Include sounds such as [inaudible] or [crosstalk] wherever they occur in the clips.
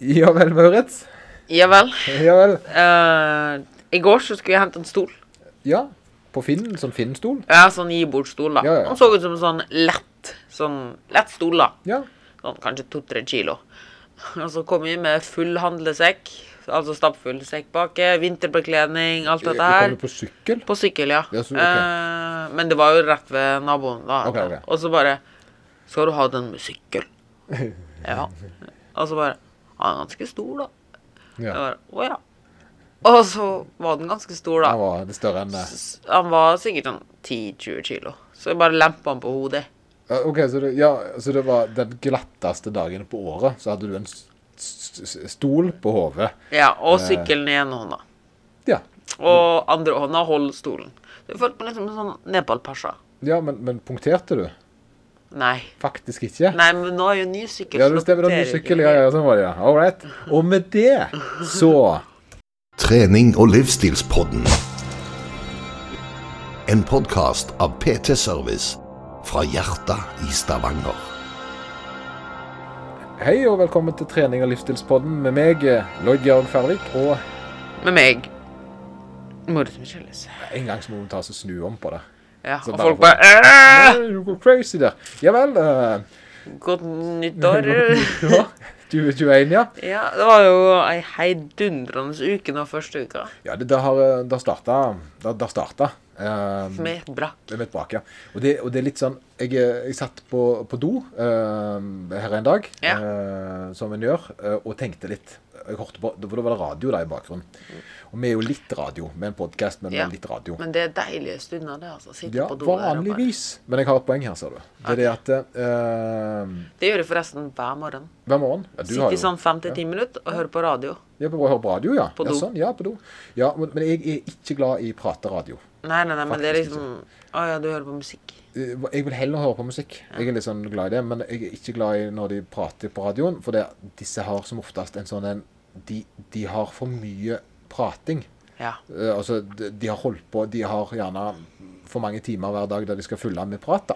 Ja vel, Maurits. Ja vel. Ja vel. Eh, I går så skulle jeg hente en stol. Ja. På Finn, som Finn-stol. Ja, sånn gi bort stol, da. Ja, ja, ja. Den så ut som en sånn lett, sånn lett stol, da. Ja. Sånn kanskje to-tre kilo. Og så kom jeg med full handlesekk, altså stappfull sekkpakke, vinterbekledning, alt Du dette her. kommer på sykkel. På sykkel, ja. Ja, så- ok. eh, men det var jo rett ved naboen, da. Ok, ok. Og så bare Skal du ha den [laughs] med sykkel? ja. Og så bare Han er ganske stor, da. Jeg Ja. bare, Å ja. Og så var den ganske stor, da. Den var det større enn det. S- Han var sikkert sånn 10-20 kilo. Så jeg bare lempa han på hodet. Ja, OK, så det, ja, så det var den glatteste dagen på året, så hadde du en s- s- s- stol på hodet. Ja, Og sykkelen i ene hånda. Ja. Og andre hånda holdt stolen. Så jeg følte meg litt som en sånn Nepal-pasha. ja men, men punkterte du? Nei. Faktisk ikke. Nei, men nå er jo ny sykkel. Ja, så du da stemmer. Det var ser ny jeg sykkel. ikke. Ja, ja, sånn var det, ja. All right. Og med det så Trening og livsstilspodden. En podkast av PT Service fra hjertet i Stavanger. Hei og velkommen til trening og livsstilspodden med meg, eh, Lloyd Jørgen Færvik. Og Med meg. Moritz Michelis. en gang så må du ta oss og snu om på det. Ja, Så og bare folk bare «Æ, Nei, Du går crazy der. Ja vel. eh, Godt nyttår. [laughs] ja, 2021, ja. ja, det var jo ei heidundrende uke nå første uka. Ja, det, det har eh, det har starta. Det har- det har starta. eh, Med et brakk. med et brak, ja. Og det, og det er litt sånn Jeg, eh, jeg satt på, på do eh, her en dag, Ja. eh, som en gjør, eh, og tenkte litt. Jeg hørte på, Da var det radio da i bakgrunnen. Og vi er jo litt radio med en podkast, men Ja. litt radio. Men det er deilige stunder, det, altså. Sitte Ja, på do der og bare- vanligvis. Men jeg har et poeng her, ser du. Det er det at eh, Det gjør jeg forresten hver morgen. Hver morgen ja, du har Sitter i jo- sånn fem til ti minutter og hører på radio. Ja, på, høre på radio, ja. På do. Ja, sånn, ja, på do. Ja, men, men jeg er ikke glad i prateradio. Nei, nei, nei, men det er Faktisk liksom Å ja, du hører på musikk. Eh, Jeg vil heller høre på musikk. Jeg er litt sånn glad i det, men jeg er ikke glad i når de prater på radioen, for det, disse har som oftest en sånn en de, de har for mye prating. Ja. Eh, altså, de, de har holdt på, de har gjerne for mange timer hver dag der de skal fylle med prat. da.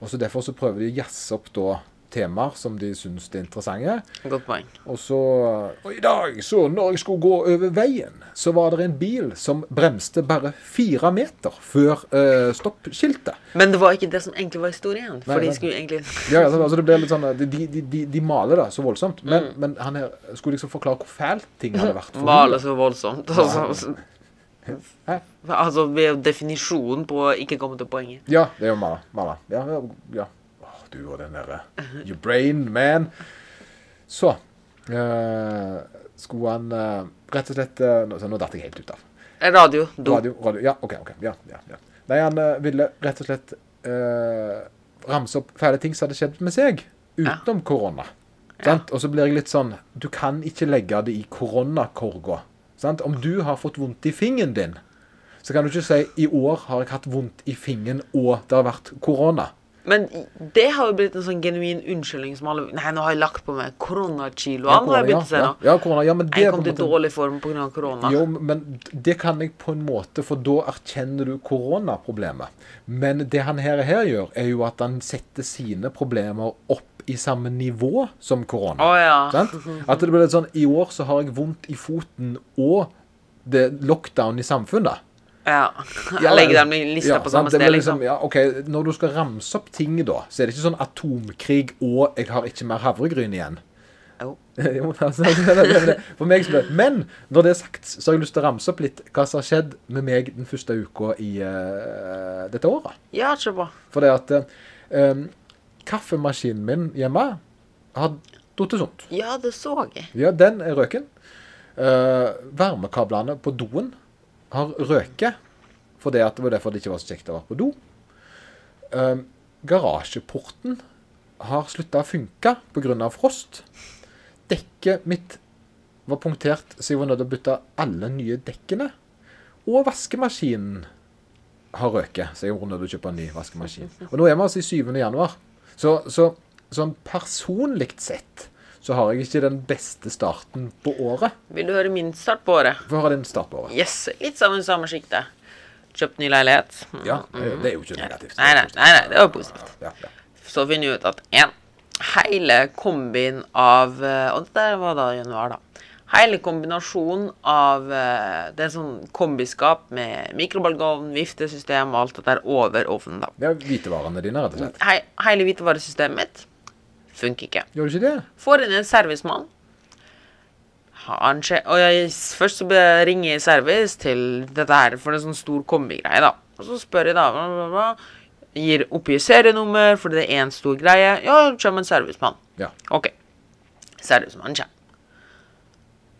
Og så Derfor så prøver de å jazze opp da temaer som de syns er interessante. Godt poeng. Og så Og i dag, så når jeg skulle gå over veien, så var det en bil som bremste bare fire meter før eh, stoppskiltet. Men det var ikke det som egentlig var historien. For Nei, de nei. skulle egentlig Ja, altså, altså det ble litt sånn eh, De, de, de, de maler det så voldsomt. Men, men han her skulle liksom forklare hvor fælt ting hadde vært. for male henne. så voldsomt. Altså, Hæ? altså vi er jo definisjonen på å ikke komme til poenget. Ja, det er jo maler. maler. Ja, ja, ja. Åh, du og den derre Your brain, man. Så eh, skulle han eh, rett og slett eh, nå- så Nå datt jeg helt ut av. Eh, Radio. Do. Radio, radio. Ja, OK. ok, ja, ja, ja. Nei, han eh, ville rett og slett eh, ramse opp fæle ting som hadde skjedd med seg utenom korona. Sant? Og så blir jeg litt sånn Du kan ikke legge det i koronakorga. Sant? Om du har fått vondt i fingeren din, så kan du ikke si 'i år har jeg hatt vondt i fingeren, og det har vært korona'. Men det har jo blitt en sånn genuin unnskyldning som alle Nei, nå har jeg lagt på meg koronakiloene, har jeg korona, begynt å si ja, nå. ja, korona, ja, men det er Jeg på kom en til måte- dårlig form pga. korona. Jo, men det kan jeg på en måte, for da erkjenner du koronaproblemet. Men det han her, her gjør, er jo at han setter sine problemer opp i samme nivå som korona. Å ja. Sant? At det blir litt sånn I år så har jeg vondt i foten og det er lockdown i samfunnet. ja. Ja, Jeg legger dem i lista ja, på sant? samme Det sted, blir liksom. Ja, ok, Når du skal ramse opp ting, da, så er det ikke sånn atomkrig og 'jeg har ikke mer havregryn igjen'. liksom. Jo. [laughs] Jo, altså, det, det, det, det. For meg så ble det. Men når det er sagt, så har jeg lyst til å ramse opp litt hva som har skjedd med meg den første uka i eh, dette året. Ja, kjør på. For det at eh, em, kaffemaskinen min hjemme har datt sunt. Ja, det så jeg. Ja, den er røken. Eh, varmekablene på doen har røket. For det, at det var derfor det ikke var så kjekt å være på do. Em, garasjeporten har slutta å funke pga. frost. Dekket mitt var punktert, så jeg var nødt til å bytte alle nye dekkene. Og vaskemaskinen har røket, så jeg var nødt til å kjøpe en ny vaskemaskin. Og nå er vi altså i 7. januar. Så, så sånn personlig sett så har jeg ikke den beste starten på året. Vil du høre min start på året? Hva har den start på året? Yes, litt sammen samme sjikte. Kjøpt ny leilighet. Hm. Ja, eh, det er jo ikke negativt. Nei, nei, nei, nei, det var positivt. Ja, ja. Så finner jeg ut at én, hele kombin av eh, Og dette var da i januar, da. Hele kombinasjonen av eh, Det er sånn kombiskap med mikrobalgovn, viftesystem og alt det der over ovnen, da. Det er hvitevarene dine, rett og slett. Hei, hele hvitevaresystemet mitt funker ikke. Gjør du ikke det? Får inn en servicemann. Han skje- og jeg, først så be- ringer jeg service til dette her for en sånn stor kombigreie, da. Og så spør jeg, da. Bla, bla, bla. Gir oppgir serienummer fordi det er én stor greie. Ja, det kommer en servicemann. Ja. OK. Servicemannen kommer.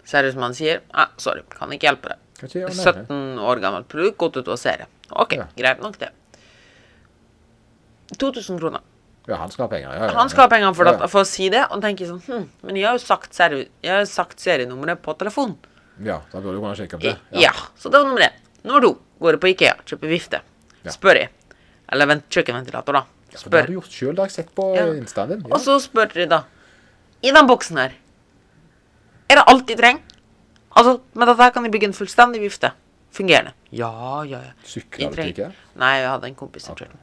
Servicemannen sier ah, 'sorry, kan ikke hjelpe deg'. Kan ikke gjøre det. 17 år gammelt produkt, gått ut og serie. OK, Ja. greit nok, det. 2000 kroner. Ja, han skal ha penger. Ja, ja, ja. Han skal ha pengene for, Ja, ja. det, for å si det, og tenker sånn hm, Men jeg har jo sagt, seri jeg har sagt serienummeret på telefon. Ja, så da burde du kunne sjekke opp I, det. ja. Så det var nummer én. Nummer to går jeg på Ikea, kjøper vifte. Ja. Spør jeg. Eller vent, kjøkkenventilator, da. For det har Spør. du gjort sjøl, det har jeg sett på Ja. eh, instaen din. Og Ja. så spør de, da. I den boksen her, er det alt de trenger? Altså, med dette her kan de bygge en fullstendig vifte. Fungerende. Ja, ja, ja. Sykla Jeg du til trenger- IKEA? Nei, jeg hadde en kompis som kjørte.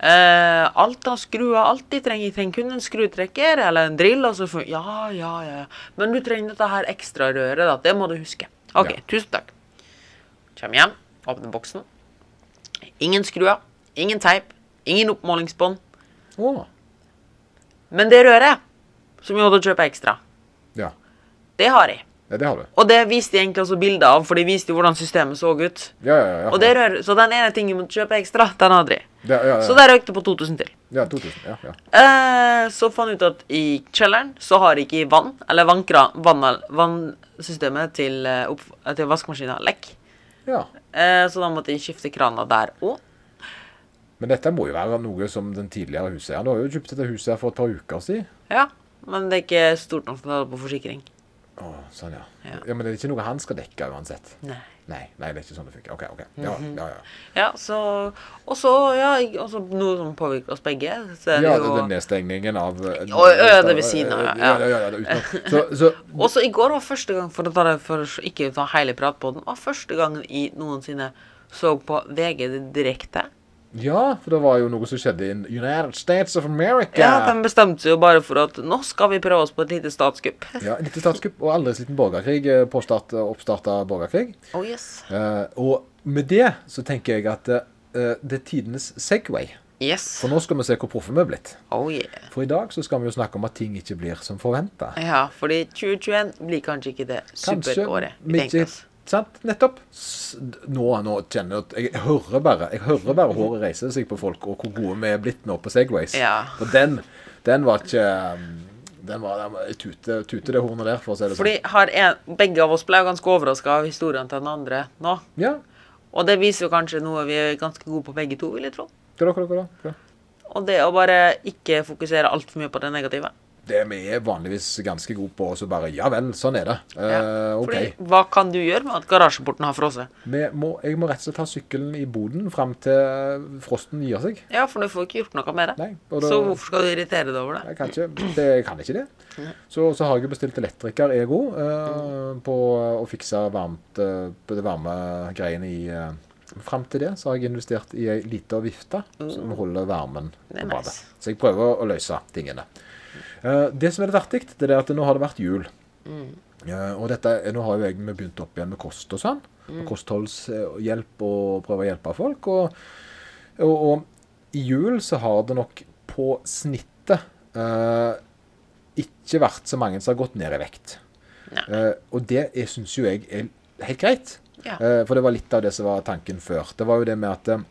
Eh, alt av skruer, alt de trenger. Jeg trenger kun en skrutrekker eller en drill. Og så får, ja, ja, ja. ja. Men du trenger dette her ekstra røret, da. Det må du huske. OK, Ja. tusen takk. Kjem hjem, åpner boksen. Ingen skruer, ingen teip, ingen oppmålingsbånd. Å. Men det røret, som jeg måtte kjøpe ekstra, Ja. det har jeg. ja, det har du. Og det viste jeg egentlig også bilder av, for de viste jo hvordan systemet så ut. Ja, ja, ja. Og det røret, så den ene tingen jeg måtte kjøpe ekstra, den hadde jeg. Det- ja, ja, ja. Så der røyk det på 2000 til. ja, 2000. Ja, ja. Eh, så fant jeg ut at i kjelleren så har jeg ikke vann, eller vannkra, vann, vannsystemet til, eh, opp, til vaskemaskina lekk. ja. Eh, så da måtte jeg skifte krana der òg. Men dette må jo være noe som den tidligere huseieren Du har jo kjøpt dette huset her for et par uker siden. Ja, men det er ikke stort nok til å ta det på forsikring. Å, sånn, ja. ja. Ja. Men det er ikke noe han skal dekke uansett. Nei. Nei, nei, det er ikke sånn det funker. OK, OK. Ja, Mhm. ja, ja. Ja, så Og så, ja, jeg- og så noe som påvirker oss begge. Så er det Ja, jo, den nedstengningen av eh, Og øde ved siden av, ja. Ja, ja, ja, ja, utenom. Så, så Også i går var første gang, for å ta det for å ikke ta hele pratpodden, var første gangen i noensinne så på VG direkte. Ja, for det var jo noe som skjedde i United States of America. Ja, de bestemte seg jo bare for at nå skal vi prøve oss på et lite statskupp. Ja, en liten statskupp og aldri sliten borgerkrig. eh, Påstart oppstarta borgerkrig. Oh yes. Eh, og med det så tenker jeg at eh, det er tidenes Segway. Yes. For nå skal vi se hvor proffe vi er blitt. Oh yeah. For i dag så skal vi jo snakke om at ting ikke blir som forventa. Ja, fordi 2021 blir kanskje ikke det superåret vi vi tenkte ikke oss. Sant? Nettopp. S- Nå, nå kjenner jeg at jeg hører bare jeg hører [laughs] bare håret reise seg på folk, og hvor gode vi er blitt nå på Segways. Ja. For den, den var ikke mm, Den var, den var tute, tute, det hornet der, for å si det sånn. Fordi har en, begge av oss ble jo ganske overraska av historien til den andre nå. sånn. Ja. Og det viser jo kanskje noe vi er ganske gode på begge to, vil jeg tro. Hva da, hva da, hva da? Hva da? Og det å bare ikke fokusere altfor mye på det negative. Det vi er vanligvis ganske gode på, og så bare Ja vel, sånn er det. Eh, Ja. OK. Fordi hva kan du gjøre med at garasjeporten har frosset? Vi må, jeg må rett og slett ha sykkelen i boden fram til frosten gir seg. Ja, for du får ikke gjort noe med det. Nei, og da- Så hvorfor skal du irritere deg over det? Jeg kan ikke det. Jeg kan ikke det. Så, så har jeg jo bestilt elektriker, jeg òg, eh, på å fikse varmt, eh, på det varme greiene i eh, Fram til det så har jeg investert i ei lita vifte som holder varmen Mm. Det er på badet. nice. Så jeg prøver å løse tingene. Eh, det som er litt artig, det er at nå har det vært jul. Mm. Eh, og dette, nå har jo jeg vi begynt opp igjen med kost og sånn. Mm. og Kostholdshjelp og prøve å hjelpe folk. Og, og, og i jul så har det nok på snittet eh, ikke vært så mange som har gått ned i vekt. Nei. Eh, og det syns jo jeg er helt greit. Ja. Eh, for det var litt av det som var tanken før. Det var jo det med at eh,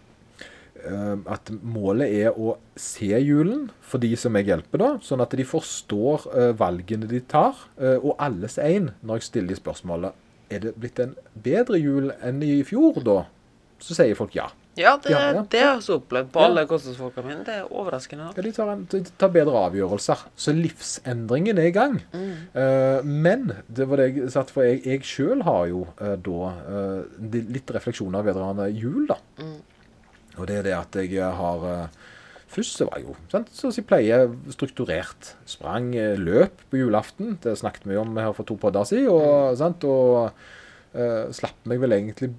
eh, at målet er å se julen for de som jeg hjelper, da, sånn at de forstår eh, valgene de tar, eh, og alles en, når jeg stiller de spørsmålet er det blitt en bedre jul enn i fjor, da? Så sier folk ja. Ja, det, Ja, ja. det har jeg også opplevd på Ja. alle kostholdsfolka mine. Det er overraskende. nok. Ja, de tar, en, de tar bedre avgjørelser. Så livsendringen er i gang. Eh, men det var det jeg satt for. Jeg, jeg sjøl har jo eh, da eh, de- litt refleksjoner vedrørende jul, da. Og det er det at jeg har eh, Først så var jeg jo sant? så å si pleier strukturert. Sprang eh, løp på julaften. Det snakket vi om her for to podder siden. Og, sant? og eh, slapp meg vel egentlig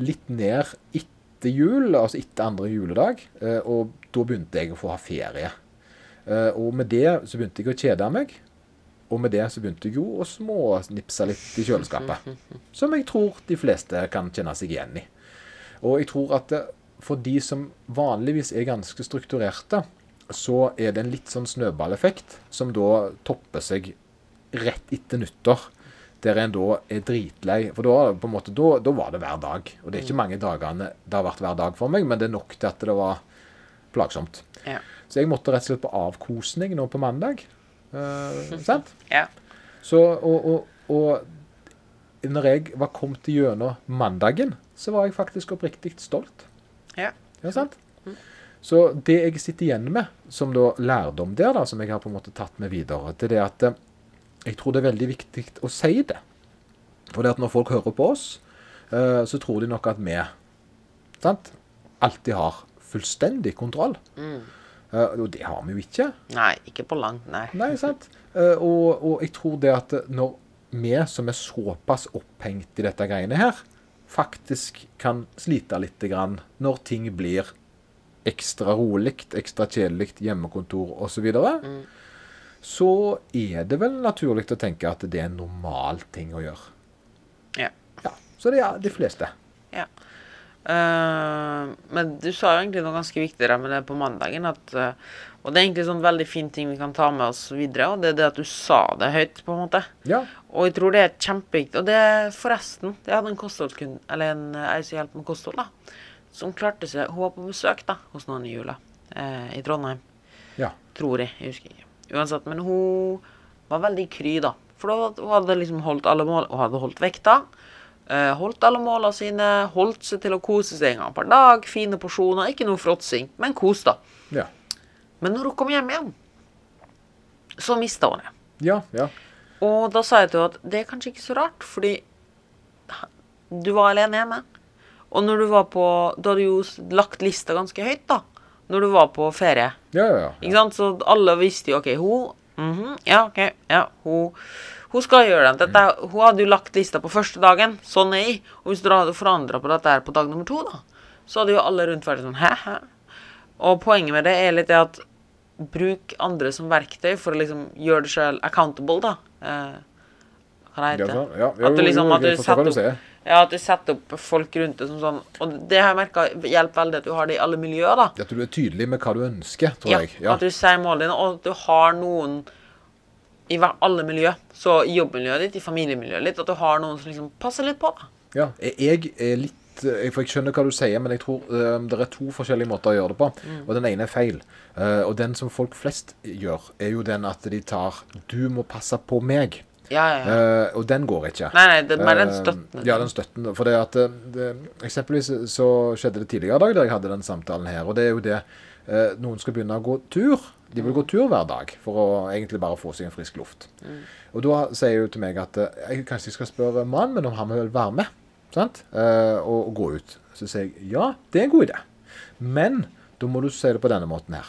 litt ned etter jul, altså etter andre juledag. eh, og da begynte jeg å få ha ferie. Eh, og med det så begynte jeg å kjede meg. Og med det så begynte jeg jo å smånipse litt i kjøleskapet. Som jeg tror de fleste kan kjenne seg igjen i. Og jeg tror at eh, for de som vanligvis er ganske strukturerte, så er det en litt sånn snøballeffekt som da topper seg rett etter nyttår. Der en da er dritlei. For da, på en måte, da, da var det hver dag. Og det er ikke mange dagene det har vært hver dag for meg, men det er nok til at det var plagsomt. Ja. Så jeg måtte rett og slett på avkosning nå på mandag. Eh, sant? ja. Så, og, og, og når jeg var kommet gjennom mandagen, så var jeg faktisk oppriktig stolt. ja. Ja, sant? Så det jeg sitter igjen med som da lærdom der, da, som jeg har på en måte tatt med videre, det er det at eh, jeg tror det er veldig viktig å si det. For det at når folk hører på oss, eh, så tror de nok at vi sant, alltid har fullstendig kontroll. Eh, Og det har vi jo ikke. Nei, ikke på langt nær. Nei, sant. Eh, Og, og jeg tror det at når vi som er såpass opphengt i dette greiene her, faktisk kan slite litt grann når ting blir ekstra rolig, ekstra kjedelig, hjemmekontor osv., så, videre, så er det vel naturlig å tenke at det er en normal ting å gjøre. Ja. Ja, Så det er de fleste. ja. Eh, men du sa jo egentlig noe ganske viktig der med det på mandagen. At, eh, og det er egentlig sånn veldig fin ting vi kan ta med oss videre, og det er det at du sa det høyt, på en måte. Ja. Og jeg tror det er kjempeviktig. Og det er forresten Jeg hadde en kostholdskund, eller en eh, ei som hjelper med kosthold, da, som klarte seg Hun var på besøk da, hos noen i jula eh, i Trondheim. Ja. Tror jeg. Jeg husker ikke. Uansett, men hun var veldig kry, da. For da var- hun hadde liksom holdt alle mål, hun hadde holdt vekta. eh, Holdt alle måla sine, holdt seg til å kose seg en gang per dag. Fine porsjoner, ikke noe fråtsing, men kos, da. Ja. Men når hun kom hjem igjen, så mista hun det. Ja. ja. Og da sa jeg til henne at det er kanskje ikke så rart, fordi du var alene hjemme. Og når du var på Du hadde jo s- lagt lista ganske høyt, da. Når du var på ferie. Ja, ja, ja. Ikke sant? Så alle visste jo OK, hun mhm, Ja, OK. Ja, hun, hun skal gjøre det. Dette, er- Hun hadde jo lagt lista på første dagen. Sånn er jeg. Og hvis dere hadde forandra på dette her på dag nummer to, da, så hadde jo alle rundt vært sånn hæ, hæ? Og poenget med det er litt det at bruk andre som verktøy for å liksom gjøre deg sjøl accountable, da. Eh, hva det Ja, heter sånn. Ja, jo, At du jo, liksom jo, at du jeg forstår hva setter du opp sier. Ja, at du setter opp folk rundt deg som sånn Og det har jeg merka hjelper veldig at du har det i alle miljøer, da. At du er tydelig med hva du ønsker, tror Ja, jeg. Ja. at du sier målene dine, og at du har noen i hver- alle miljø. Så i jobbmiljøet ditt, i familiemiljøet ditt, at du har noen som liksom passer litt på. da. Ja, jeg- jeg er litt eh, For jeg skjønner hva du sier, men jeg tror eh, det er to forskjellige måter å gjøre det på. Og den ene er feil. Eh, og den som folk flest gjør, er jo den at de tar 'du må passe på meg'. Ja, ja, ja. Eh, og den går ikke. Nei, nei, det er mer den Eh, støttende. Ja, den støtten. For det at eh, det, Eksempelvis så skjedde det tidligere i dag der jeg hadde den samtalen her, og det er jo det eh, Noen skal begynne å gå tur. De vil Mm. gå tur hver dag for å egentlig bare få seg en frisk luft. Og da sier hun til meg at eh, jeg kanskje jeg skal spørre mannen min om han vil være med sant? Eh, og, og gå ut. Så sier jeg ja, det er en god idé. Men da må du si det på denne måten her.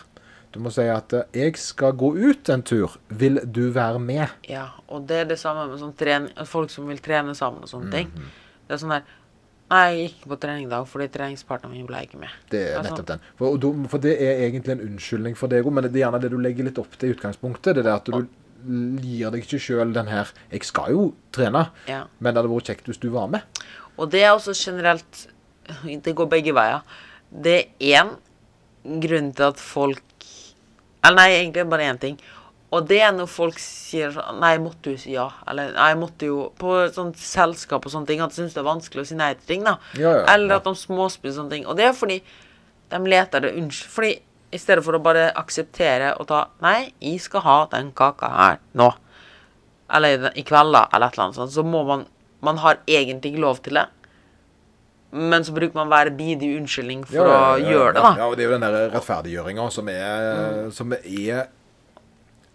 Du må si at eh, 'jeg skal gå ut en tur, vil du være med'? Ja, og det er det samme med sånn trening, at folk som vil trene sammen og sånne ting. Det er sånn der Nei, jeg gikk ikke på trening i dag fordi treningspartneren min ble ikke med. Det er Altså- nettopp den. For, og da- for det er egentlig en unnskyldning for deg òg, men det er gjerne det du legger litt opp til i utgangspunktet. Det er det at du gir deg ikke sjøl den her 'Jeg skal jo trene, Ja. men det hadde vært kjekt hvis du var med'. Og det er også generelt Det går begge veier. Det er én grunn til at folk Eller nei, egentlig er det bare én ting. Og det er når folk sier sånn Nei, jeg måtte jo si ja. Eller nei, jeg måtte jo På sånt selskap og sånne ting. At de syns det er vanskelig å si nei til ting. da. Ja, ja, eller ja. at de småspiller sånne ting. Og det er fordi de leter det unnskyld. Fordi i stedet for å bare akseptere og ta Nei, jeg skal ha den kaka her nå eller i den- i kveld, da, eller et eller annet sånt, så må man Man har egentlig ikke lov til det. Men så bruker man hver bidige unnskyldning for å gjøre Ja, det, da. Mm. og det er jo den der rettferdiggjøringa som er, som er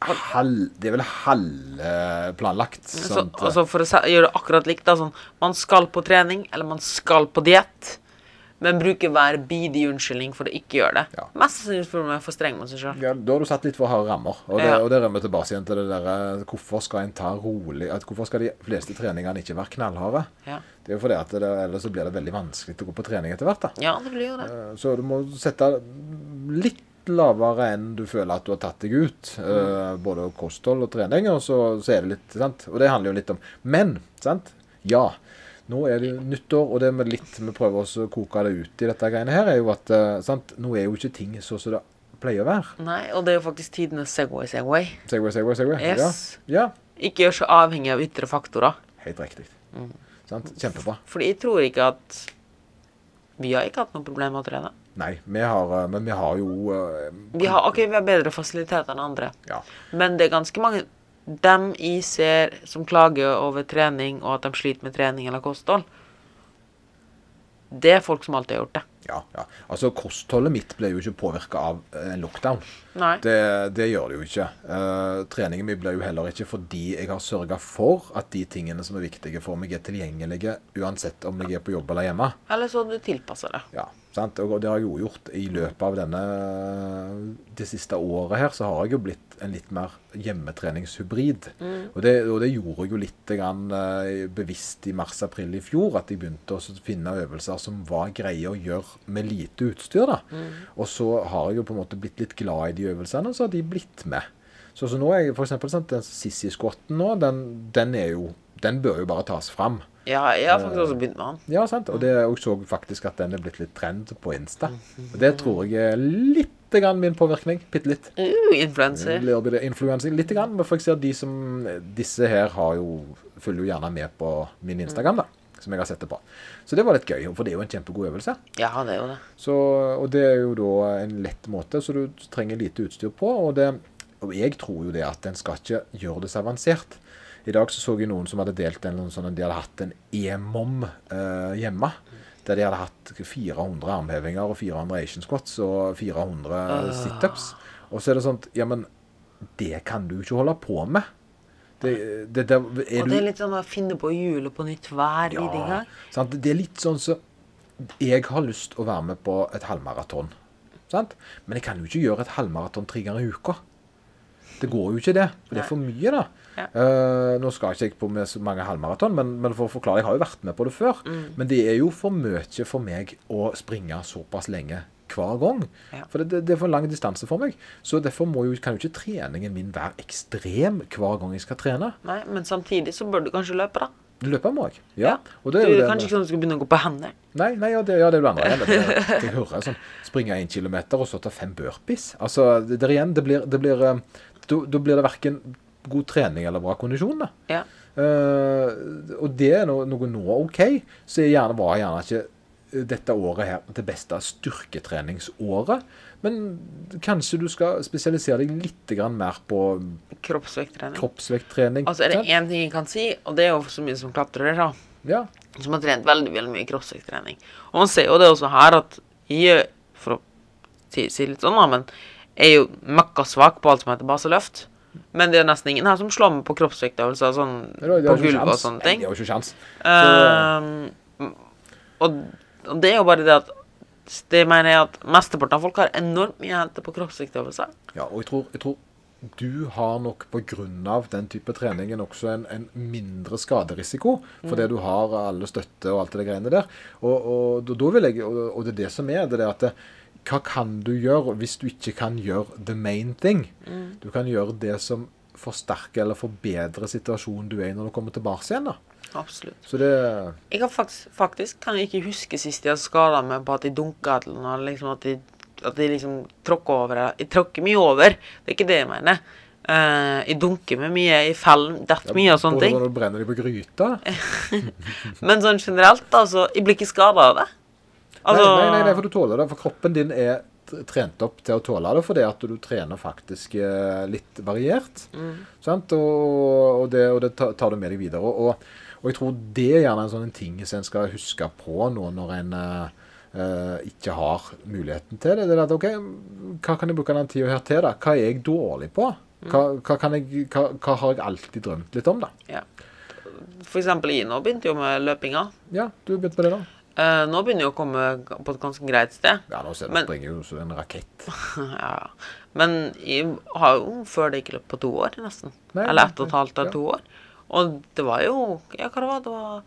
halv, Det er vel halvplanlagt. Så, sant? altså for å se- gjøre det akkurat likt, da. Sånn, man skal på trening, eller man skal på diett. Men bruker hver bidige unnskyldning for å ikke gjøre det. Ja. Mest sannsynlig fordi man er for streng mot seg sjøl. Ja, da har du satt litt for harde rammer. Og det, Ja. og det rømmer tilbake igjen til det der eh, Hvorfor skal en ta rolig at Hvorfor skal de fleste treningene ikke være knallharde? Ja. Det er jo fordi at det, ellers så blir det veldig vanskelig å gå på trening etter hvert. da. ja, det blir jo det. Eh, Så du må sette litt lavere enn du føler at du har tatt deg ut. eh, både kosthold og trening, og så, så er det litt sant? Og det handler jo litt om Men, sant? Ja. Nå er det jo nyttår, og det med litt vi prøver også å koke det ut i dette greiene her, er jo at eh, sant? Nå er jo ikke ting sånn som det pleier å være. Nei, og det er jo faktisk tidenes Segway Segway. Segway, segway, segway. Yes. Ja. ja. Ikke gjør så avhengig av ytre faktorer. Helt riktig. Mm. Sant? Kjempebra. Fordi jeg tror ikke at Vi har ikke hatt noe problem med å trene. Nei, vi har, eh, men vi har jo eh, Vi har, ok, vi har bedre fasiliteter enn andre. Ja. Men det er ganske mange dem jeg ser som klager over trening, og at de sliter med trening eller kosthold. Det er folk som alltid har gjort det. Ja, ja. Altså, kostholdet mitt ble jo ikke påvirka av eh, en lockdown. Nei. Det, det gjør det jo ikke. Eh, treningen min blir jo heller ikke fordi jeg har sørga for at de tingene som er viktige for meg, er tilgjengelige uansett om jeg er på jobb eller hjemme. Eller så har du tilpassa det. Ja, sant? Og det har jeg jo gjort i løpet av denne det siste året her, så har jeg jo blitt en litt mer hjemmetreningshybrid. Og, det, og det gjorde jeg jo litt grann, eh, bevisst i mars-april i fjor, at jeg begynte også å finne øvelser som var greie å gjøre med lite utstyr. da. Og så har jeg jo på en måte blitt litt glad i de øvelsene, og så har de blitt med. Så, så nå er jeg for eksempel sant, den sissy-squatten nå, den, den er jo Den bør jo bare tas fram. Ja, jeg har faktisk også begynt med han. Ja, sant. Og det og så faktisk at den er blitt litt trend på Insta. Og det tror jeg er litt grann min påvirkning. Bitte litt. Uh, influencer. Influensing litt, grann, men for jeg ser de som, disse her har jo, følger jo gjerne med på min Instagram, da, som jeg har sett det på. Så det var litt gøy, for det er jo en kjempegod øvelse. Ja, det er jo det. Så, og det er jo da en lett måte, så du trenger lite utstyr på. Og, det, og jeg tror jo det at en skal ikke gjøre det så avansert. I dag så, så jeg noen som hadde delt en eller annen sånn, de hadde hatt en EMOM eh, hjemme. Der de hadde hatt 400 armhevinger og 400 Asian squats og Ah. 400 situps. Og så er det sånn Ja, men det kan du ikke holde på med. Det, det, det, er Og du, det er litt sånn å finne på hjulet på nytt hver ja. bidige gang. Ah, Sant? Det er litt sånn som Jeg har lyst å være med på et halvmaraton. Sant? Men jeg kan jo ikke gjøre et halvmaraton tre ganger i uka. Det går jo ikke det. For det er for mye, da. Ja. Eh, nå skal ikke jeg på med så mange halvmaraton, men, men for å forklare, jeg har jo vært med på det før. Mm. Men det er jo for mye for meg å springe såpass lenge hver gang. Ja. For det, det, det er for lang distanse for meg. Så derfor må jo, kan jo ikke treningen min være ekstrem hver gang jeg skal trene. Nei, men samtidig så bør du kanskje løpe, da. Løpe må jeg. Ja. Ja. Og Du, det er jo det med- kanskje ikke sånn at du skal begynne å gå på hender. Nei, nei, ja, det, ja, det er jo det [laughs] andre. igjen, Det, det, det hører jeg sånn. Springe en kilometer og så ta fem burpees. Altså, det, der igjen, det blir, det blir eh, Da da blir det verken god trening eller bra kondisjon, da. Ja. Eh, og det er noe, noe nå OK, så jeg gjerne var gjerne ikke eh, dette året her det beste styrketreningsåret. Men kanskje du skal spesialisere deg litt grann mer på Kroppsvekttrening. kroppsvekttrening. Altså, er det sant? én ting jeg kan si, og det er jo så mye som klatrer, da. Ja. som har trent veldig veldig mye crossfit-trening. Og man ser jo det også her at jeg gjør, for å si, si litt sånn, da, men jeg er jo møkkasvak på alt som heter baseløft. Men det er nesten ingen her som slår meg på kroppsvektøvelser sånn, Det er jo- det er jo på ikke gulvet og sjans. sånne Nei, ting. Det er jo ikke sjans. Ehm, og, og det er jo bare det at det mener jeg at mesteparten av folk har enormt mye å hente på kroppsvektøvelser. Ja, og jeg tror, jeg tror du har nok pga. den type treningen også en, en mindre skaderisiko, fordi Mm. du har alle støtte og alt det greiene der. Og, og, da- da vil jeg, og, og det er det som er, det er at det, hva kan du gjøre hvis du ikke kan gjøre the main thing? Mm. Du kan gjøre det som forsterker eller forbedrer situasjonen du er i når du kommer tilbake igjen. da. Absolutt. Så det Jeg kan faktisk, faktisk kan jeg ikke huske sist jeg skada meg på at jeg dunka et eller annet. Liksom at jeg, at jeg liksom tråkka over. Jeg tråkker mye over. Det er ikke det jeg mener. Eh, jeg dunker meg mye, jeg faller detter mye og sånne Både ting. Når du brenner deg på gryta. Men sånn generelt, altså Jeg blir ikke skada av det. Altså, nei, nei, nei, nei, for du tåler det. For kroppen din er t- trent opp til å tåle det, fordi at du trener faktisk eh, litt variert. Mm. Sant? Og, og, det, og det ta- tar du med deg videre. Og, og- og jeg tror det er gjerne en sånn ting som en skal huske på nå når en eh, eh, ikke har muligheten til det. Det er at OK, hva kan jeg bruke den tida her til, da? Hva er jeg dårlig på? Mm. Hva, hva, kan jeg, hva, hva har jeg alltid drømt litt om, da? ja. For eksempel jeg nå begynte jo med løpinga. Ja, du begynte med det nå. Eh, nå begynner jeg å komme på et ganske greit sted. Ja, nå ser du, Men- springer du som en rakett. [laughs] ja. Men jeg har jo før det ikke løpt på to år, nesten. Nei, eller ett nei, og et halvt ja. eller to år. Og det var jo Ja, hva det var det? var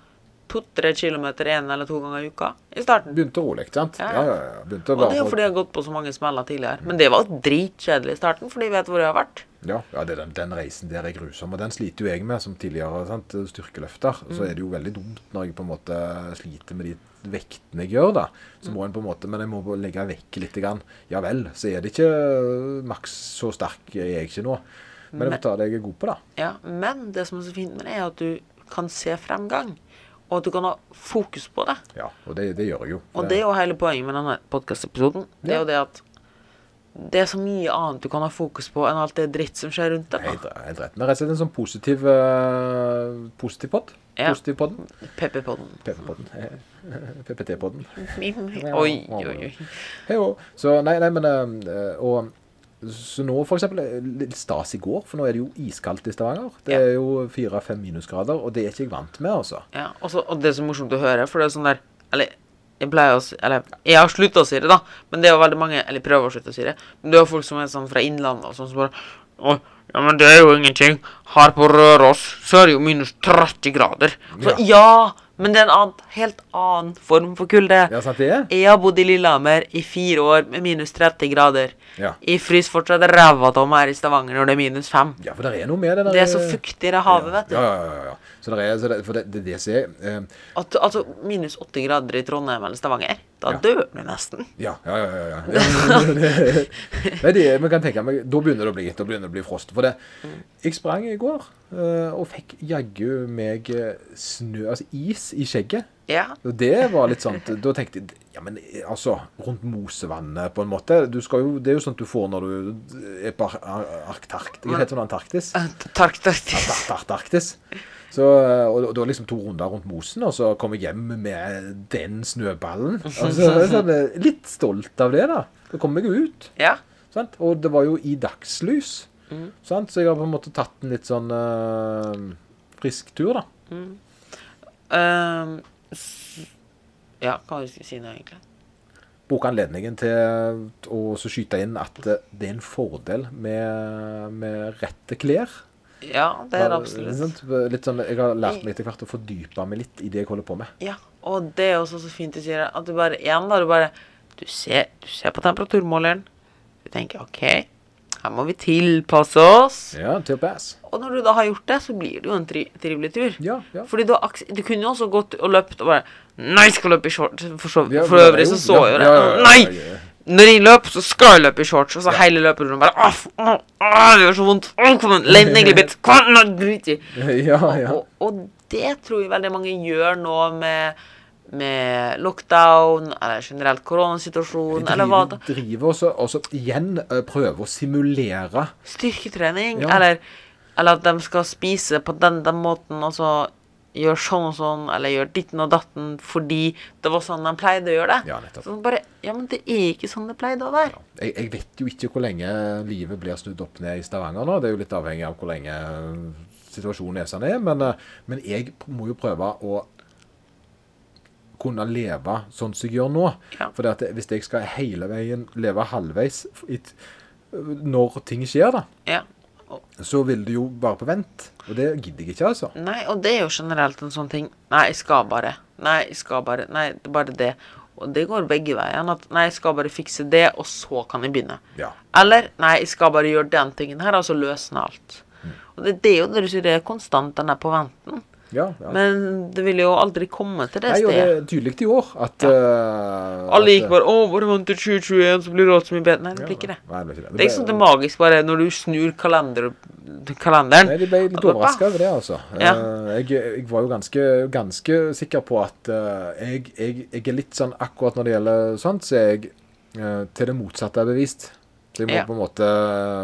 to-tre kilometer en eller to ganger i uka i starten. Begynte rolig, ikke sant? Ja, Ja, ja. ja, ja. Begynte Og det bare er jo fordi jeg har gått på så mange smeller tidligere. Men det var dritkjedelig i starten, for de vet hvor jeg har vært. Ja, ja det er den, den reisen der er grusom, og den sliter jo jeg med som tidligere sant? styrkeløfter. Mm. Så er det jo veldig dumt når jeg på en måte sliter med de vektene jeg gjør, da. Mm. Så må en på en måte, men jeg må bare legge vekk litt. Grann. Ja vel, så er det ikke øh, maks så sterk er jeg ikke nå. Men jeg får ta det jeg er god på, da. Ja, Men det som er så fint med det, er at du kan se fremgang. Og at du kan ha fokus på det. Ja, og det, det gjør jeg jo. Og det er jo hele poenget med denne podkastepisoden. Det er jo det at det er så mye annet du kan ha fokus på enn alt det dritt som skjer rundt deg. Helt, helt rett. Men rett og slett en sånn positiv, øh, positiv pod. Ja. Positiv podden. PP-podden. PP-podden. PPT-podden. Oi, oi, oi. Hei, og- så, nei, nei, men eh, og, Så nå for eksempel eh, litt stas i går, for nå er det jo iskaldt i Stavanger. Det Ja. er jo fire-fem minusgrader, og det er ikke jeg vant med, altså. Ja, og, så, og det er så morsomt å høre, for det er sånn der Eller jeg pleier å si Eller jeg har slutta å si det, da, men det er jo veldig mange Eller prøver å slutte å si det. Men det er jo folk som er sånn fra innlandet og sånn som bare Å, ja, men det er jo ingenting. Her på Røros så er det jo minus 30 grader. Så ja, men det er en annen, helt annen form for kulde. Ja, sant det er? Jeg har bodd i Lillehammer i fire år med minus 30 grader. Ja. Jeg fryser fortsatt ræva av meg her i Stavanger når det er minus 5. Ja, for det er noe med det der. eh, Det er så fuktig i det havet, vet du. Ja, ja, ja. ja. Så det er, så det, for det, det, er det som er eh, At, altså minus 80 grader i Trondheim eller Stavanger, da dør du nesten. Ja, ja, ja. ja, ja. Nei, det, vi kan tenke, men da begynner det å bli, da begynner det å bli frost. For det, jeg sprang i går eh, og fikk jaggu meg eh, snø, altså is, i skjegget. Ja. Og det var litt sånn, da tenkte jeg, ja men altså, rundt Mosevannet på en måte, du skal jo, det er jo sånt du får når du er på Arktarktis, jeg heter det sånn Antarktis, Takk, takk. Tar- Antarktis. Så, og, og da liksom to runder rundt mosen, og så kom jeg hjem med den [laughs] snøballen. Og så, er jeg sånn, litt stolt av det da, da kom jeg jo ut. Ja. Sant? Og det var jo i dagslys. Mm. Sant? Så jeg har på en måte tatt en litt sånn eh, frisk tur da. ehm, s- ja, hva var det jeg skulle si nå, egentlig? bruke anledningen til å så skyte inn at eh, det er en fordel med, med rette klær. Ja, det er det Ikke absolutt. sant? Litt sånn, jeg har lært meg etter hvert å fordype meg litt i det jeg holder på med. Ja, og det er også så fint du sier det, at du bare igjen da, du bare du ser, du ser på temperaturmåleren. Du tenker OK, her må vi tilpasse oss. Ja, til å pass. Og når du da har gjort det, så blir det jo en tri trivelig tur. Ja, ja. Fordi du, har aks- du kunne jo også gått og løpt og bare Nei, jeg skal løpe i shorts. For, så, Ja, for men det er øvrig jo- så så jeg ja, jo det. ja, ja, ja, ja, ja. Nei! Når jeg løp, så skal jeg løpe i shorts. Og så hele løperunden bare «Åh, f- åh, åh, Det gjør så vondt. Åh, Kom igjen. Lev [laughs] neglebit. Kom igjen. nå, Drit i. [laughs] Ja, ja. Og, og det tror jeg veldig mange gjør nå med, med lockdown eller generelt koronasituasjon eller hva Driver, da. driver og så- og så igjen eh, prøver å simulere. Styrketrening Ja. eller, eller at de skal spise på den, den måten, og så gjør sånn og sånn, eller gjør ditten og datten fordi det var sånn de pleide å gjøre det. Ja, nettopp. Sånn bare, ja, men det er ikke sånn det pleide å være. Jeg, jeg vet jo ikke hvor lenge livet blir snudd opp ned i Stavanger nå. Det er jo litt avhengig av hvor lenge eh, situasjonen er sånn er. Men, eh, men jeg må jo prøve å kunne leve sånn som jeg gjør nå. Ja. For at hvis jeg skal hele veien leve halvveis i t- når ting skjer, da, Ja. Og, så vil det jo bare på vent. Og det gidder jeg ikke, altså. nei, og det er jo generelt en sånn ting. Nei, jeg skal bare. Nei, jeg skal bare. Nei, det er bare det. Og det går begge veier. At nei, jeg skal bare fikse det, og så kan jeg begynne. Ja. Eller nei, jeg skal bare gjøre den tingen her, og så løsne alt. Mm. Og det, det er jo det du sier, det er konstant den der på venten. Ja, ja. Men det ville jo aldri komme til det Nei, og det stedet. er tydelig i år at eh, Alle at- gikk bare 'Å, bare vent til 2021, så blir alt så mye bedre'. Nei, det blir ikke det. Nei, det blir ikke Det er ikke sånn det er magisk bare når du snur kalender, kalenderen. Nei, de ble litt og bare, overraska over det, altså. «Ah!» Ja. Eh, Jeg, jeg var jo ganske, ganske sikker på at eh, jeg, jeg, jeg er litt sånn akkurat når det gjelder sånt, så er jeg eh, til det motsatte er bevist. Så jeg må, Ja. på, en måte,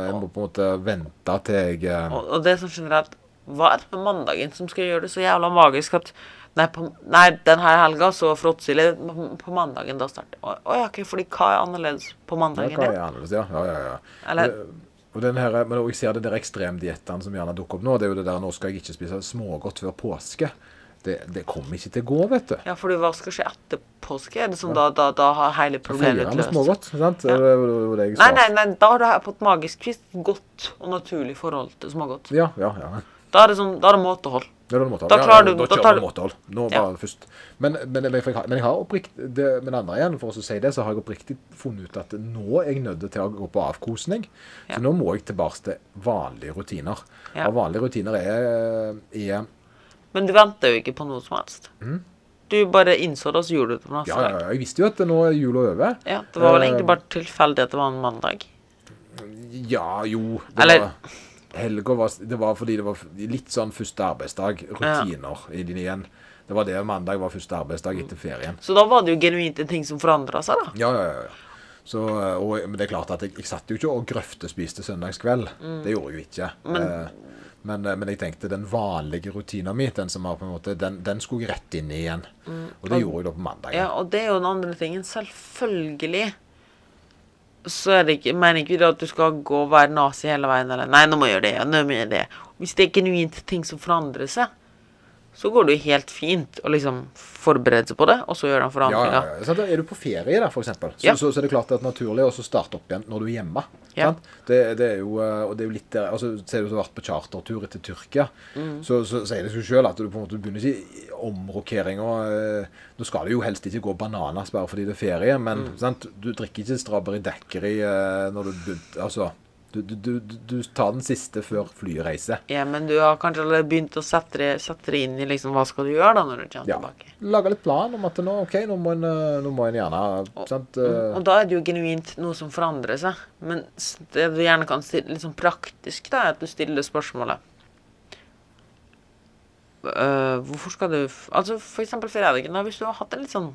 jeg må på en måte vente til jeg eh, Og, og det som generelt Hva er det med mandagen som skal gjøre det så jævla magisk at Nei, på, nei den her helga så fråtser jeg litt på, på mandagen. Da starter Å å ja, ok, fordi hva er annerledes på ja, mandagen? hva Ja, er annerledes, ja. Ja, ja, ja. Eller- Og det- Og den her, men jeg ser det der ekstremdiettene som gjerne dukker opp nå. Det er jo det der 'nå skal jeg ikke spise smågodt før påske'. Det, det kommer ikke til å gå, vet du. Ja, fordi hva skal skje etter påske? Er det sånn da, da, da har hele problemet Feirer med blitt løst? smågodt, sant? Det var jo det jeg sa. Nei, nei, nei, da har du på et magisk vis godt og naturlig forhold til smågodt. Ja, ja, ja. Da er det sånn, da er det måtehold. Ja, da er det måtehold. Da Ja, klarer du- da da kjører tar vi du- måtehold. Nå Ja. bare først. Men, men, eller, for jeg har, men jeg har oppriktig det, Men andre igjen, for å si det, så har jeg oppriktig funnet ut at nå er jeg nødt til å gå på avkosning. Ja. Så nå må jeg tilbake til vanlige rutiner. Ja. Og vanlige rutiner er, er Men du venter jo ikke på noe som helst. Du bare innså det, og så gjorde du det på Mm. Ja, neste ja, dag. ja, jeg visste jo at nå er jula over. Ja, det var vel Eh, egentlig bare tilfeldig at det var en mandag. Ja, jo. Det Eller- var, helga var Det var fordi det var litt sånn første arbeidsdag. Rutiner i din igjen. Det var det mandag var første arbeidsdag etter ferien. Så da var det jo genuint en ting som forandra seg, da. Ja, ja, ja, ja. Så, eh, og, men det er klart at jeg, jeg satt jo ikke og grøftespiste søndagskveld. Det gjorde jeg jo ikke. Mm. Men- Eh, men, eh, men jeg tenkte den vanlige rutina mi, den som var på en måte, den, den skulle jeg rett inn i igjen. Og det gjorde jeg da på mandag. Mm. Ja, og det er jo den andre tingen. Selvfølgelig så er det ikke, mener ikke vi da at du skal gå og være nazi hele veien, eller Nei, nå må jeg gjøre det, ja, nå må jeg gjøre det. Hvis det er genuint ting som forandrer seg, så går det jo helt fint å liksom forberede seg på det, og så gjøre den Ja, forandringa. ja, ja. Sant? Er du på ferie, da, for eksempel, så, Ja. så, så er det klart at naturlig å så starte opp igjen når du er hjemme. Ja. Sant? Det, det er jo, eh, og det er jo litt der, altså, Ser du som har vært på chartertur til Tyrkia, Mm. så, så sier det seg sjøl at du på en måte begynner ikke omrokeringa eh, Nå skal det jo helst ikke gå bananas bare fordi det er ferie, men Mm. sant? du drikker ikke strawberry daiquiri eh, når du Altså, du, du, du, du tar den siste før flyet reiser. Ja, men du har kanskje allerede begynt å sette det, sette det inn i liksom, hva skal du gjøre da når du kommer Ja. tilbake. Lage litt plan om at nå, OK, nå må en, eh, nå må en gjerne sant? eh, Og mm, da er det jo genuint noe som forandrer seg. Men s- det du gjerne kan stille litt sånn praktisk, da, er at du stiller spørsmålet «Øh, Hvorfor skal du f Altså for eksempel fredagen, da, hvis du har hatt en litt sånn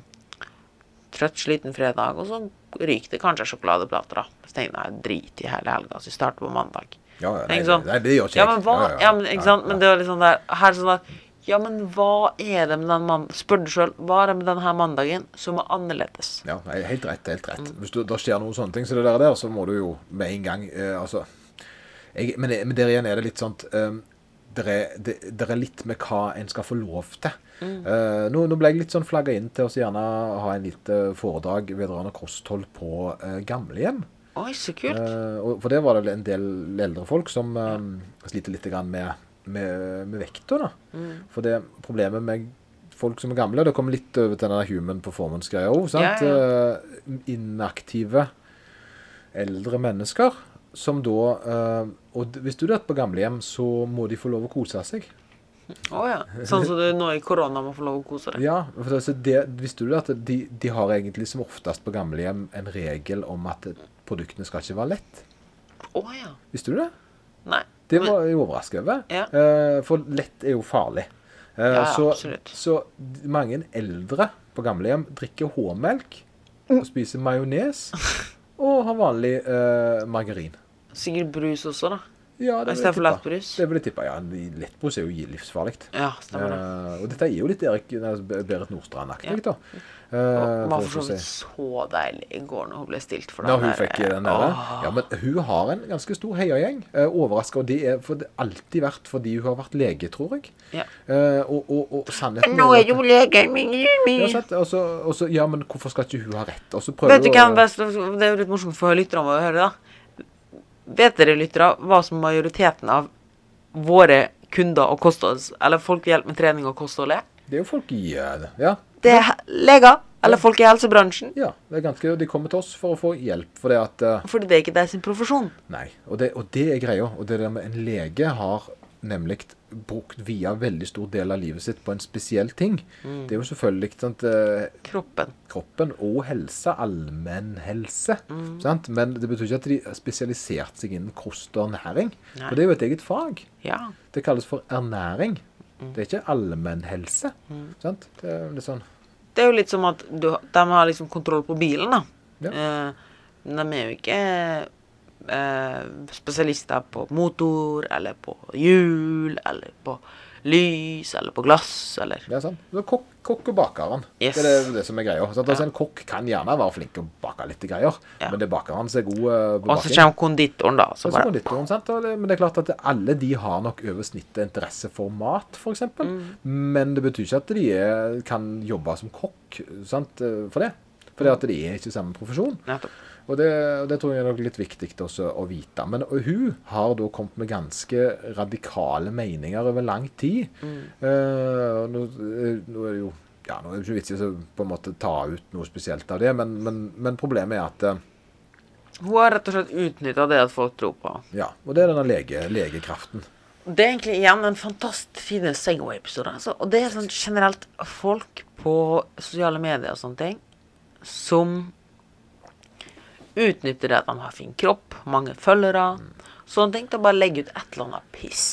trøtt, sliten fredag, og så ryker det kanskje sjokoladeplater, da. Så tenker du nei, drit i hele helga, så vi starter på mandag. Ja, ja, nei, Ikke sant? nei, det gjør ikke ja, jeg. men hva, Ja, ja, ja, men, ja, ikke sant? ja. Men det var litt sånn der Her sånn der Ja, men hva er det med den mandagen Spør deg sjøl, hva er det med denne mandagen som er annerledes? Ja, nei, helt rett, helt Mm. rett. Hvis du, da skjer noen sånne ting som det der, der, så må du jo med en gang eh, Altså jeg, men, men der igjen er det litt sånn um, det, er- det, det er litt med hva en skal få lov til. Mm. Eh, nå, nå ble jeg litt sånn flagga inn til å så gjerne ha en lite foredrag vedrørende kosthold på eh, gamlehjem. Oi, så kult. Eh, og for det var det en del eldre folk som eh, sliter litt grann med, med, med vekta. da. Mm. For det problemet med folk som er gamle, det kommer litt over til denne human performance-greia òg. sant? Ja, Eh, inaktive eldre mennesker som da eh, Og d- hvis du er på gamlehjem, så må de få lov å kose seg. Å ja. Sånn som du nå i korona må få lov å kose deg. Ja, for det, så det, Visste du det at de, de har egentlig som oftest på gamlehjem en regel om at produktene skal ikke være lett? Å ja. Visste du det? Nei. Det Men- var jeg overrasket over. Ja. Eh, for lett er jo farlig. Eh, Ja, så, absolutt. så d- mange eldre på gamlehjem drikker H-melk, Mm. og spiser majones og har vanlig eh, margarin. Sikkert brus også, da. Ja, det vil I stedet jeg for tippe. lettbrus? Det vil jeg tippe. Ja, lettbrus er jo livsfarlig. Ja, stemmer det. Eh, og dette er jo litt Erik nei, altså Berit Nordstrand-aktig, Ja. da. Eh, Hun var for for å så vidt si. så deilig i går når hun ble stilt for Når den hun der, fikk eh, den der. åh. Ja, men hun har en ganske stor heiagjeng. Eh, Overraska. Og det er for det har alltid vært fordi hun har vært lege, tror jeg. Ja. Eh, og, og, og sannheten Nå jo er at- jo legen min Ja, hjemme. sant? Og så- og så- ja, men hvorfor skal ikke hun ha rett? Og så prøver Vet du hun å- hvem best Det er jo litt morsomt for lytterne å høre, da. Vet dere, lyttere, hva som majoriteten av våre kunder og kostholds... Eller folk vi hjelper med trening og kosthold er? Det er jo folk i eh, Ja. Det er he- leger. Eller folk i helsebransjen. ja det er ganske, de kommer til oss for å få hjelp. For det at eh, Fordi det er ikke deres sin profesjon. Nei. Og det, og det er greia. Og det der med en lege har nemlig brukt via veldig stor del av livet sitt på en spesiell ting. Mm. Det er jo selvfølgelig sant, eh, Kroppen. kroppen og helse, allmennhelse. Mm. sant? Men det betyr ikke at de har spesialisert seg innen kost og ernæring. Nei. For det er jo et eget fag. Ja. Det kalles for ernæring. Mm. Det er ikke allmennhelse. Sant? Det er litt sånn Det er jo litt som at du, de har liksom kontroll på bilen, da. Ja. Eh, men de er jo ikke eh, spesialister på motor, eller på hjul, eller på lys, eller på glass, eller det er sånn. Så kokk, kokk og bakeren. Yes. Det er det som er greia. Sant? Altså, En kokk kan gjerne være flink til å bake litt greier, Ja. men det er bakeren som er god eh, på Og så baking. kommer konditoren, da. og Så Og så bare, konditoren, sant? Og det, men det er klart at alle de har nok over snittet interesse for mat, f.eks. eksempel Men det betyr ikke at de er, kan jobbe som kokk sant? eh, for det. Fordi at de er ikke i samme profesjon. Nettopp. Og det, og det tror jeg er nok litt viktig også å vite. Men og hun har da kommet med ganske radikale meninger over lang tid. Eh, og nå, eh, nå er det jo ja, nå er det ikke vits i å så på en måte ta ut noe spesielt av det, men, men, men problemet er at eh, Hun har rett og slett utnytta det at folk tror på henne. Ja, og det er denne lege, legekraften. Det er egentlig igjen en fantastisk fin Segway-episode. Altså. Og det er sånn generelt folk på sosiale medier og sånne ting som utnytter det at de har fin kropp, mange følgere, sånne ting, til å bare legge ut et eller annet piss.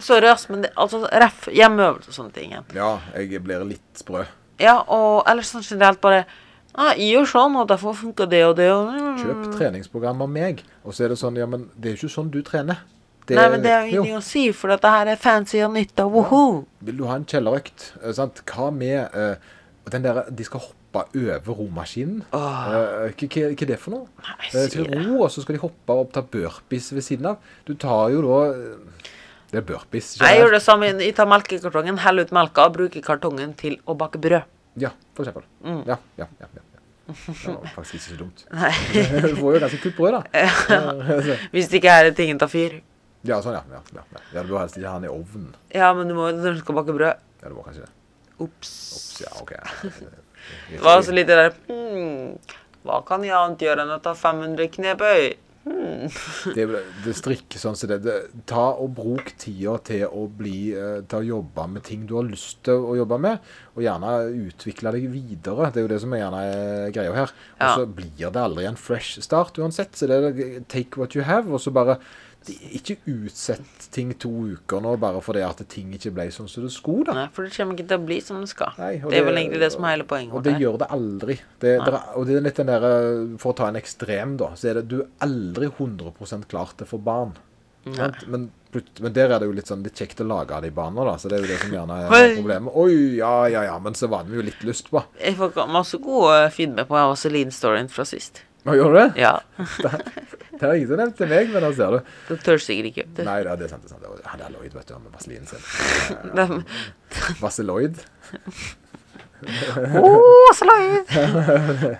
Sorry, ass, men det, altså, ref, hjemmeøvelse og sånne ting. igjen. Ja, jeg blir litt sprø. Ja, og ellers sånn generelt bare ah, Gjør sånn, og derfor funker det og det og Kjøp Mm. treningsprogram av meg. Og så er det sånn, ja, men det er jo ikke sånn du trener. Det- Nei, men det er jo ingenting å si, for dette her er fancy og nytt og woho. Vil du ha en kjellerøkt? Eh, sant? Hva med eh, den der De skal hoppe over romaskinen. Åh. Eh, hva- hva hva er det for noe? Nei, Eh, sier Til det. ro, og så skal de hoppe og ta burpees ved siden av. Du tar jo da eh, Det er burpees. Jeg gjør det samme. Jeg tar melkekartongen, heller ut melka og bruker kartongen til å bake brød. Ja, for eksempel. Ja, ja, ja. ja, ja. Det var faktisk ikke så dumt. Mm. [laughs] [laughs] Nei, Du får jo ganske kult brød, da. [laughs] Eh, Hvis det ikke er tingen tar fyr. Ja, sånn, ja. ja, ja, ja. ja du bør helst ikke ha den i ovnen. Ja, men du må, når du skal bake brød Ja, du må kanskje det. Ops. Så ja, ok. Det var altså litt det der hmm, Hva kan jeg annet gjøre enn å ta 500 knebøy? Det, det strikk sånn som det. det. Ta og bruk tida til å bli eh, til å jobbe med ting du har lyst til å jobbe med, og gjerne utvikle deg videre. Det er jo det som er gjerne er greia her. Og Ja. så blir det aldri en fresh start uansett. Så det er take what you have, og så bare Ikke utsett ting to uker nå bare fordi at ting ikke ble sånn som det skulle, da. Nei, for det kommer ikke til å bli som det skal. Nei, og det er vel det- egentlig det som er hele poenget Og vårt det her. gjør det aldri. Det, der, og det er litt den der, eh, For å ta en ekstrem, da, så er det du er aldri 100 klar til å få barn. Sant? Men, plut- men der er det jo litt sånn litt kjekt å lage av de barna, da. Så det er jo det som gjerne er Oi. problemet. Oi, ja, ja, ja, men så var det jo litt lyst på. Jeg får masse god feedback på Vaselin-storyen fra sist. Nå gjør du det? Ja, Det har ingen nevnt til meg, men der ser du. Det tør sikkert ikke. Det, Nei, ja, det er sant. det er sant. Det var- Han er Lloyd, vet du, han med vaselinen sin. Eh, det, Vaseloid. Åh, så løy!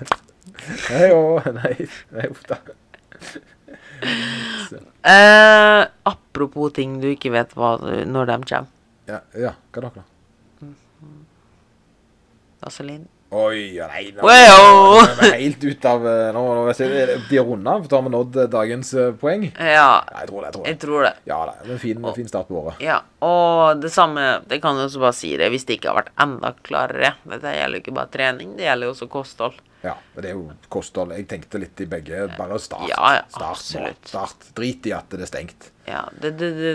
Nei, å, nei, nei, uff da. Eh, apropos ting du ikke vet hva, når de kommer. Ja, ja, hva er dere da? Vaselin. Oi, ja, nei, nå Wow! nå er vi helt ut av eh, Nå, nå vet jeg, de har runda, for da har vi nådd eh, dagens eh, poeng. Nei, Ja, jeg tror det. jeg tror jeg det. tror det. Ja da, det er en fin, en fin start på året. Ja, Og det samme Det kan jeg også bare si det hvis det ikke har vært enda klarere. Dette gjelder jo ikke bare trening, det gjelder jo også kosthold. Ja, men Det er jo kosthold. Jeg tenkte litt i begge. Bare start. Ja, ja, start, nå, absolutt. Start. Drit i at det er stengt. Ja, Det, det, det,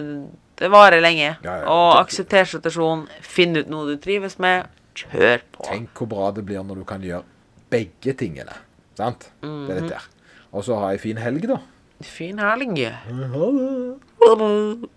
det varer lenge. Ja, ja. Og aksepter situasjonen. Finn ut noe du trives med. Kjør på. Tenk hvor bra det blir når du kan gjøre begge tingene. Sant? Det er litt der. Og så ha ei en fin helg, da. Fin helg. Ha det. Ha det.